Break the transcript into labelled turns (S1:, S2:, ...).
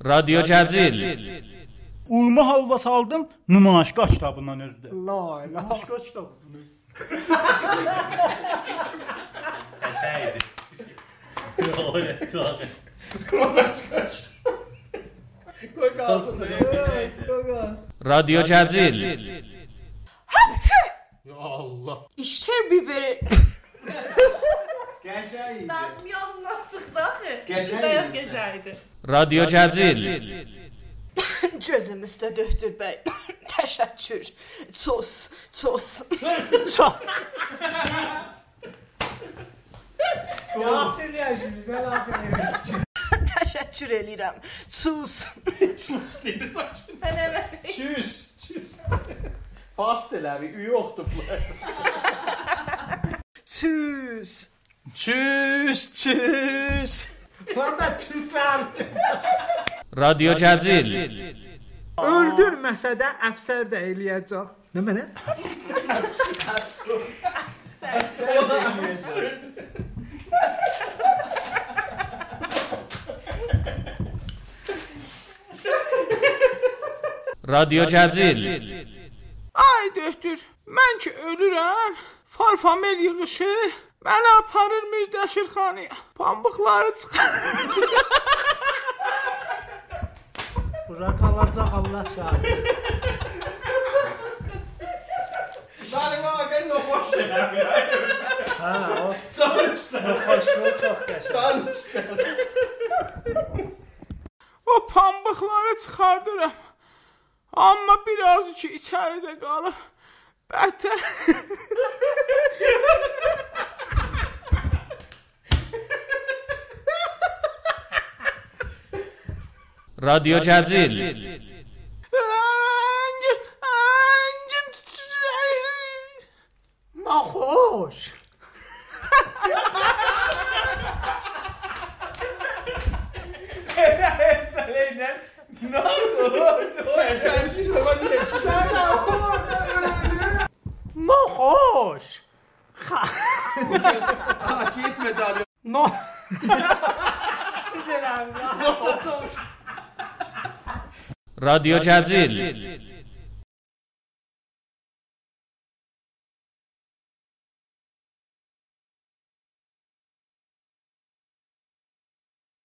S1: رادیو Cəzil.
S2: Uyuma halva saldım nümayişgah kitabından özüdür.
S3: La la.
S2: Nümayişgah kitabından özüdür.
S1: Qəşəydi. Tualet, tualet.
S3: Koy kalsın. Koy kalsın.
S1: Radyo Cəzil.
S4: İşlər bir verir.
S3: Geçer
S4: Lazım yanımdan çıxdı axı.
S3: Gecə
S4: Bayaq
S3: idi.
S4: gecə idi.
S1: Radyo Cəzil.
S4: Gözüm üstə döhdür bəy. Təşəkkür. Ços, ços.
S3: Yasir ya şimdi sen aferin.
S4: Təşəkkür eləyirəm. Çus.
S3: Çüz dedi saçın.
S4: Mənə mən
S3: Çüz. Çüz. Fastel abi üye oktuplar.
S4: çüs.
S3: Çüz çüz. Lan da çüzler.
S1: Radyo Cəzil.
S5: Öldürməsə də əfsər də eləyəcək. Nə mənə?
S1: Radyo Cəzil.
S5: Ay döktür. Mən ki ölürəm, farfamel yığışır, məni aparır Mirdəşirxanaya. Pambıqları çıxır.
S6: Bura qalacaq Allah şahid.
S3: Lan baba ben de boş ver.
S6: Hə, o
S3: Sonuçta.
S6: xoşluq çox qəşəng.
S3: Sonuçta.
S5: O pambıqları çıxardıram. Amma biraz ki içəridə qalıb. Bətər.
S1: Radyo Cəzil.
S5: Əngin, əngin titrəyir.
S6: Naxoş.
S3: Seleyden. Ne oldu? O yaşancı zaman diye.
S6: Naxoş.
S3: Hak etmedi abi.
S6: No. Siz eləmisiniz.
S1: Radyo Cəzil.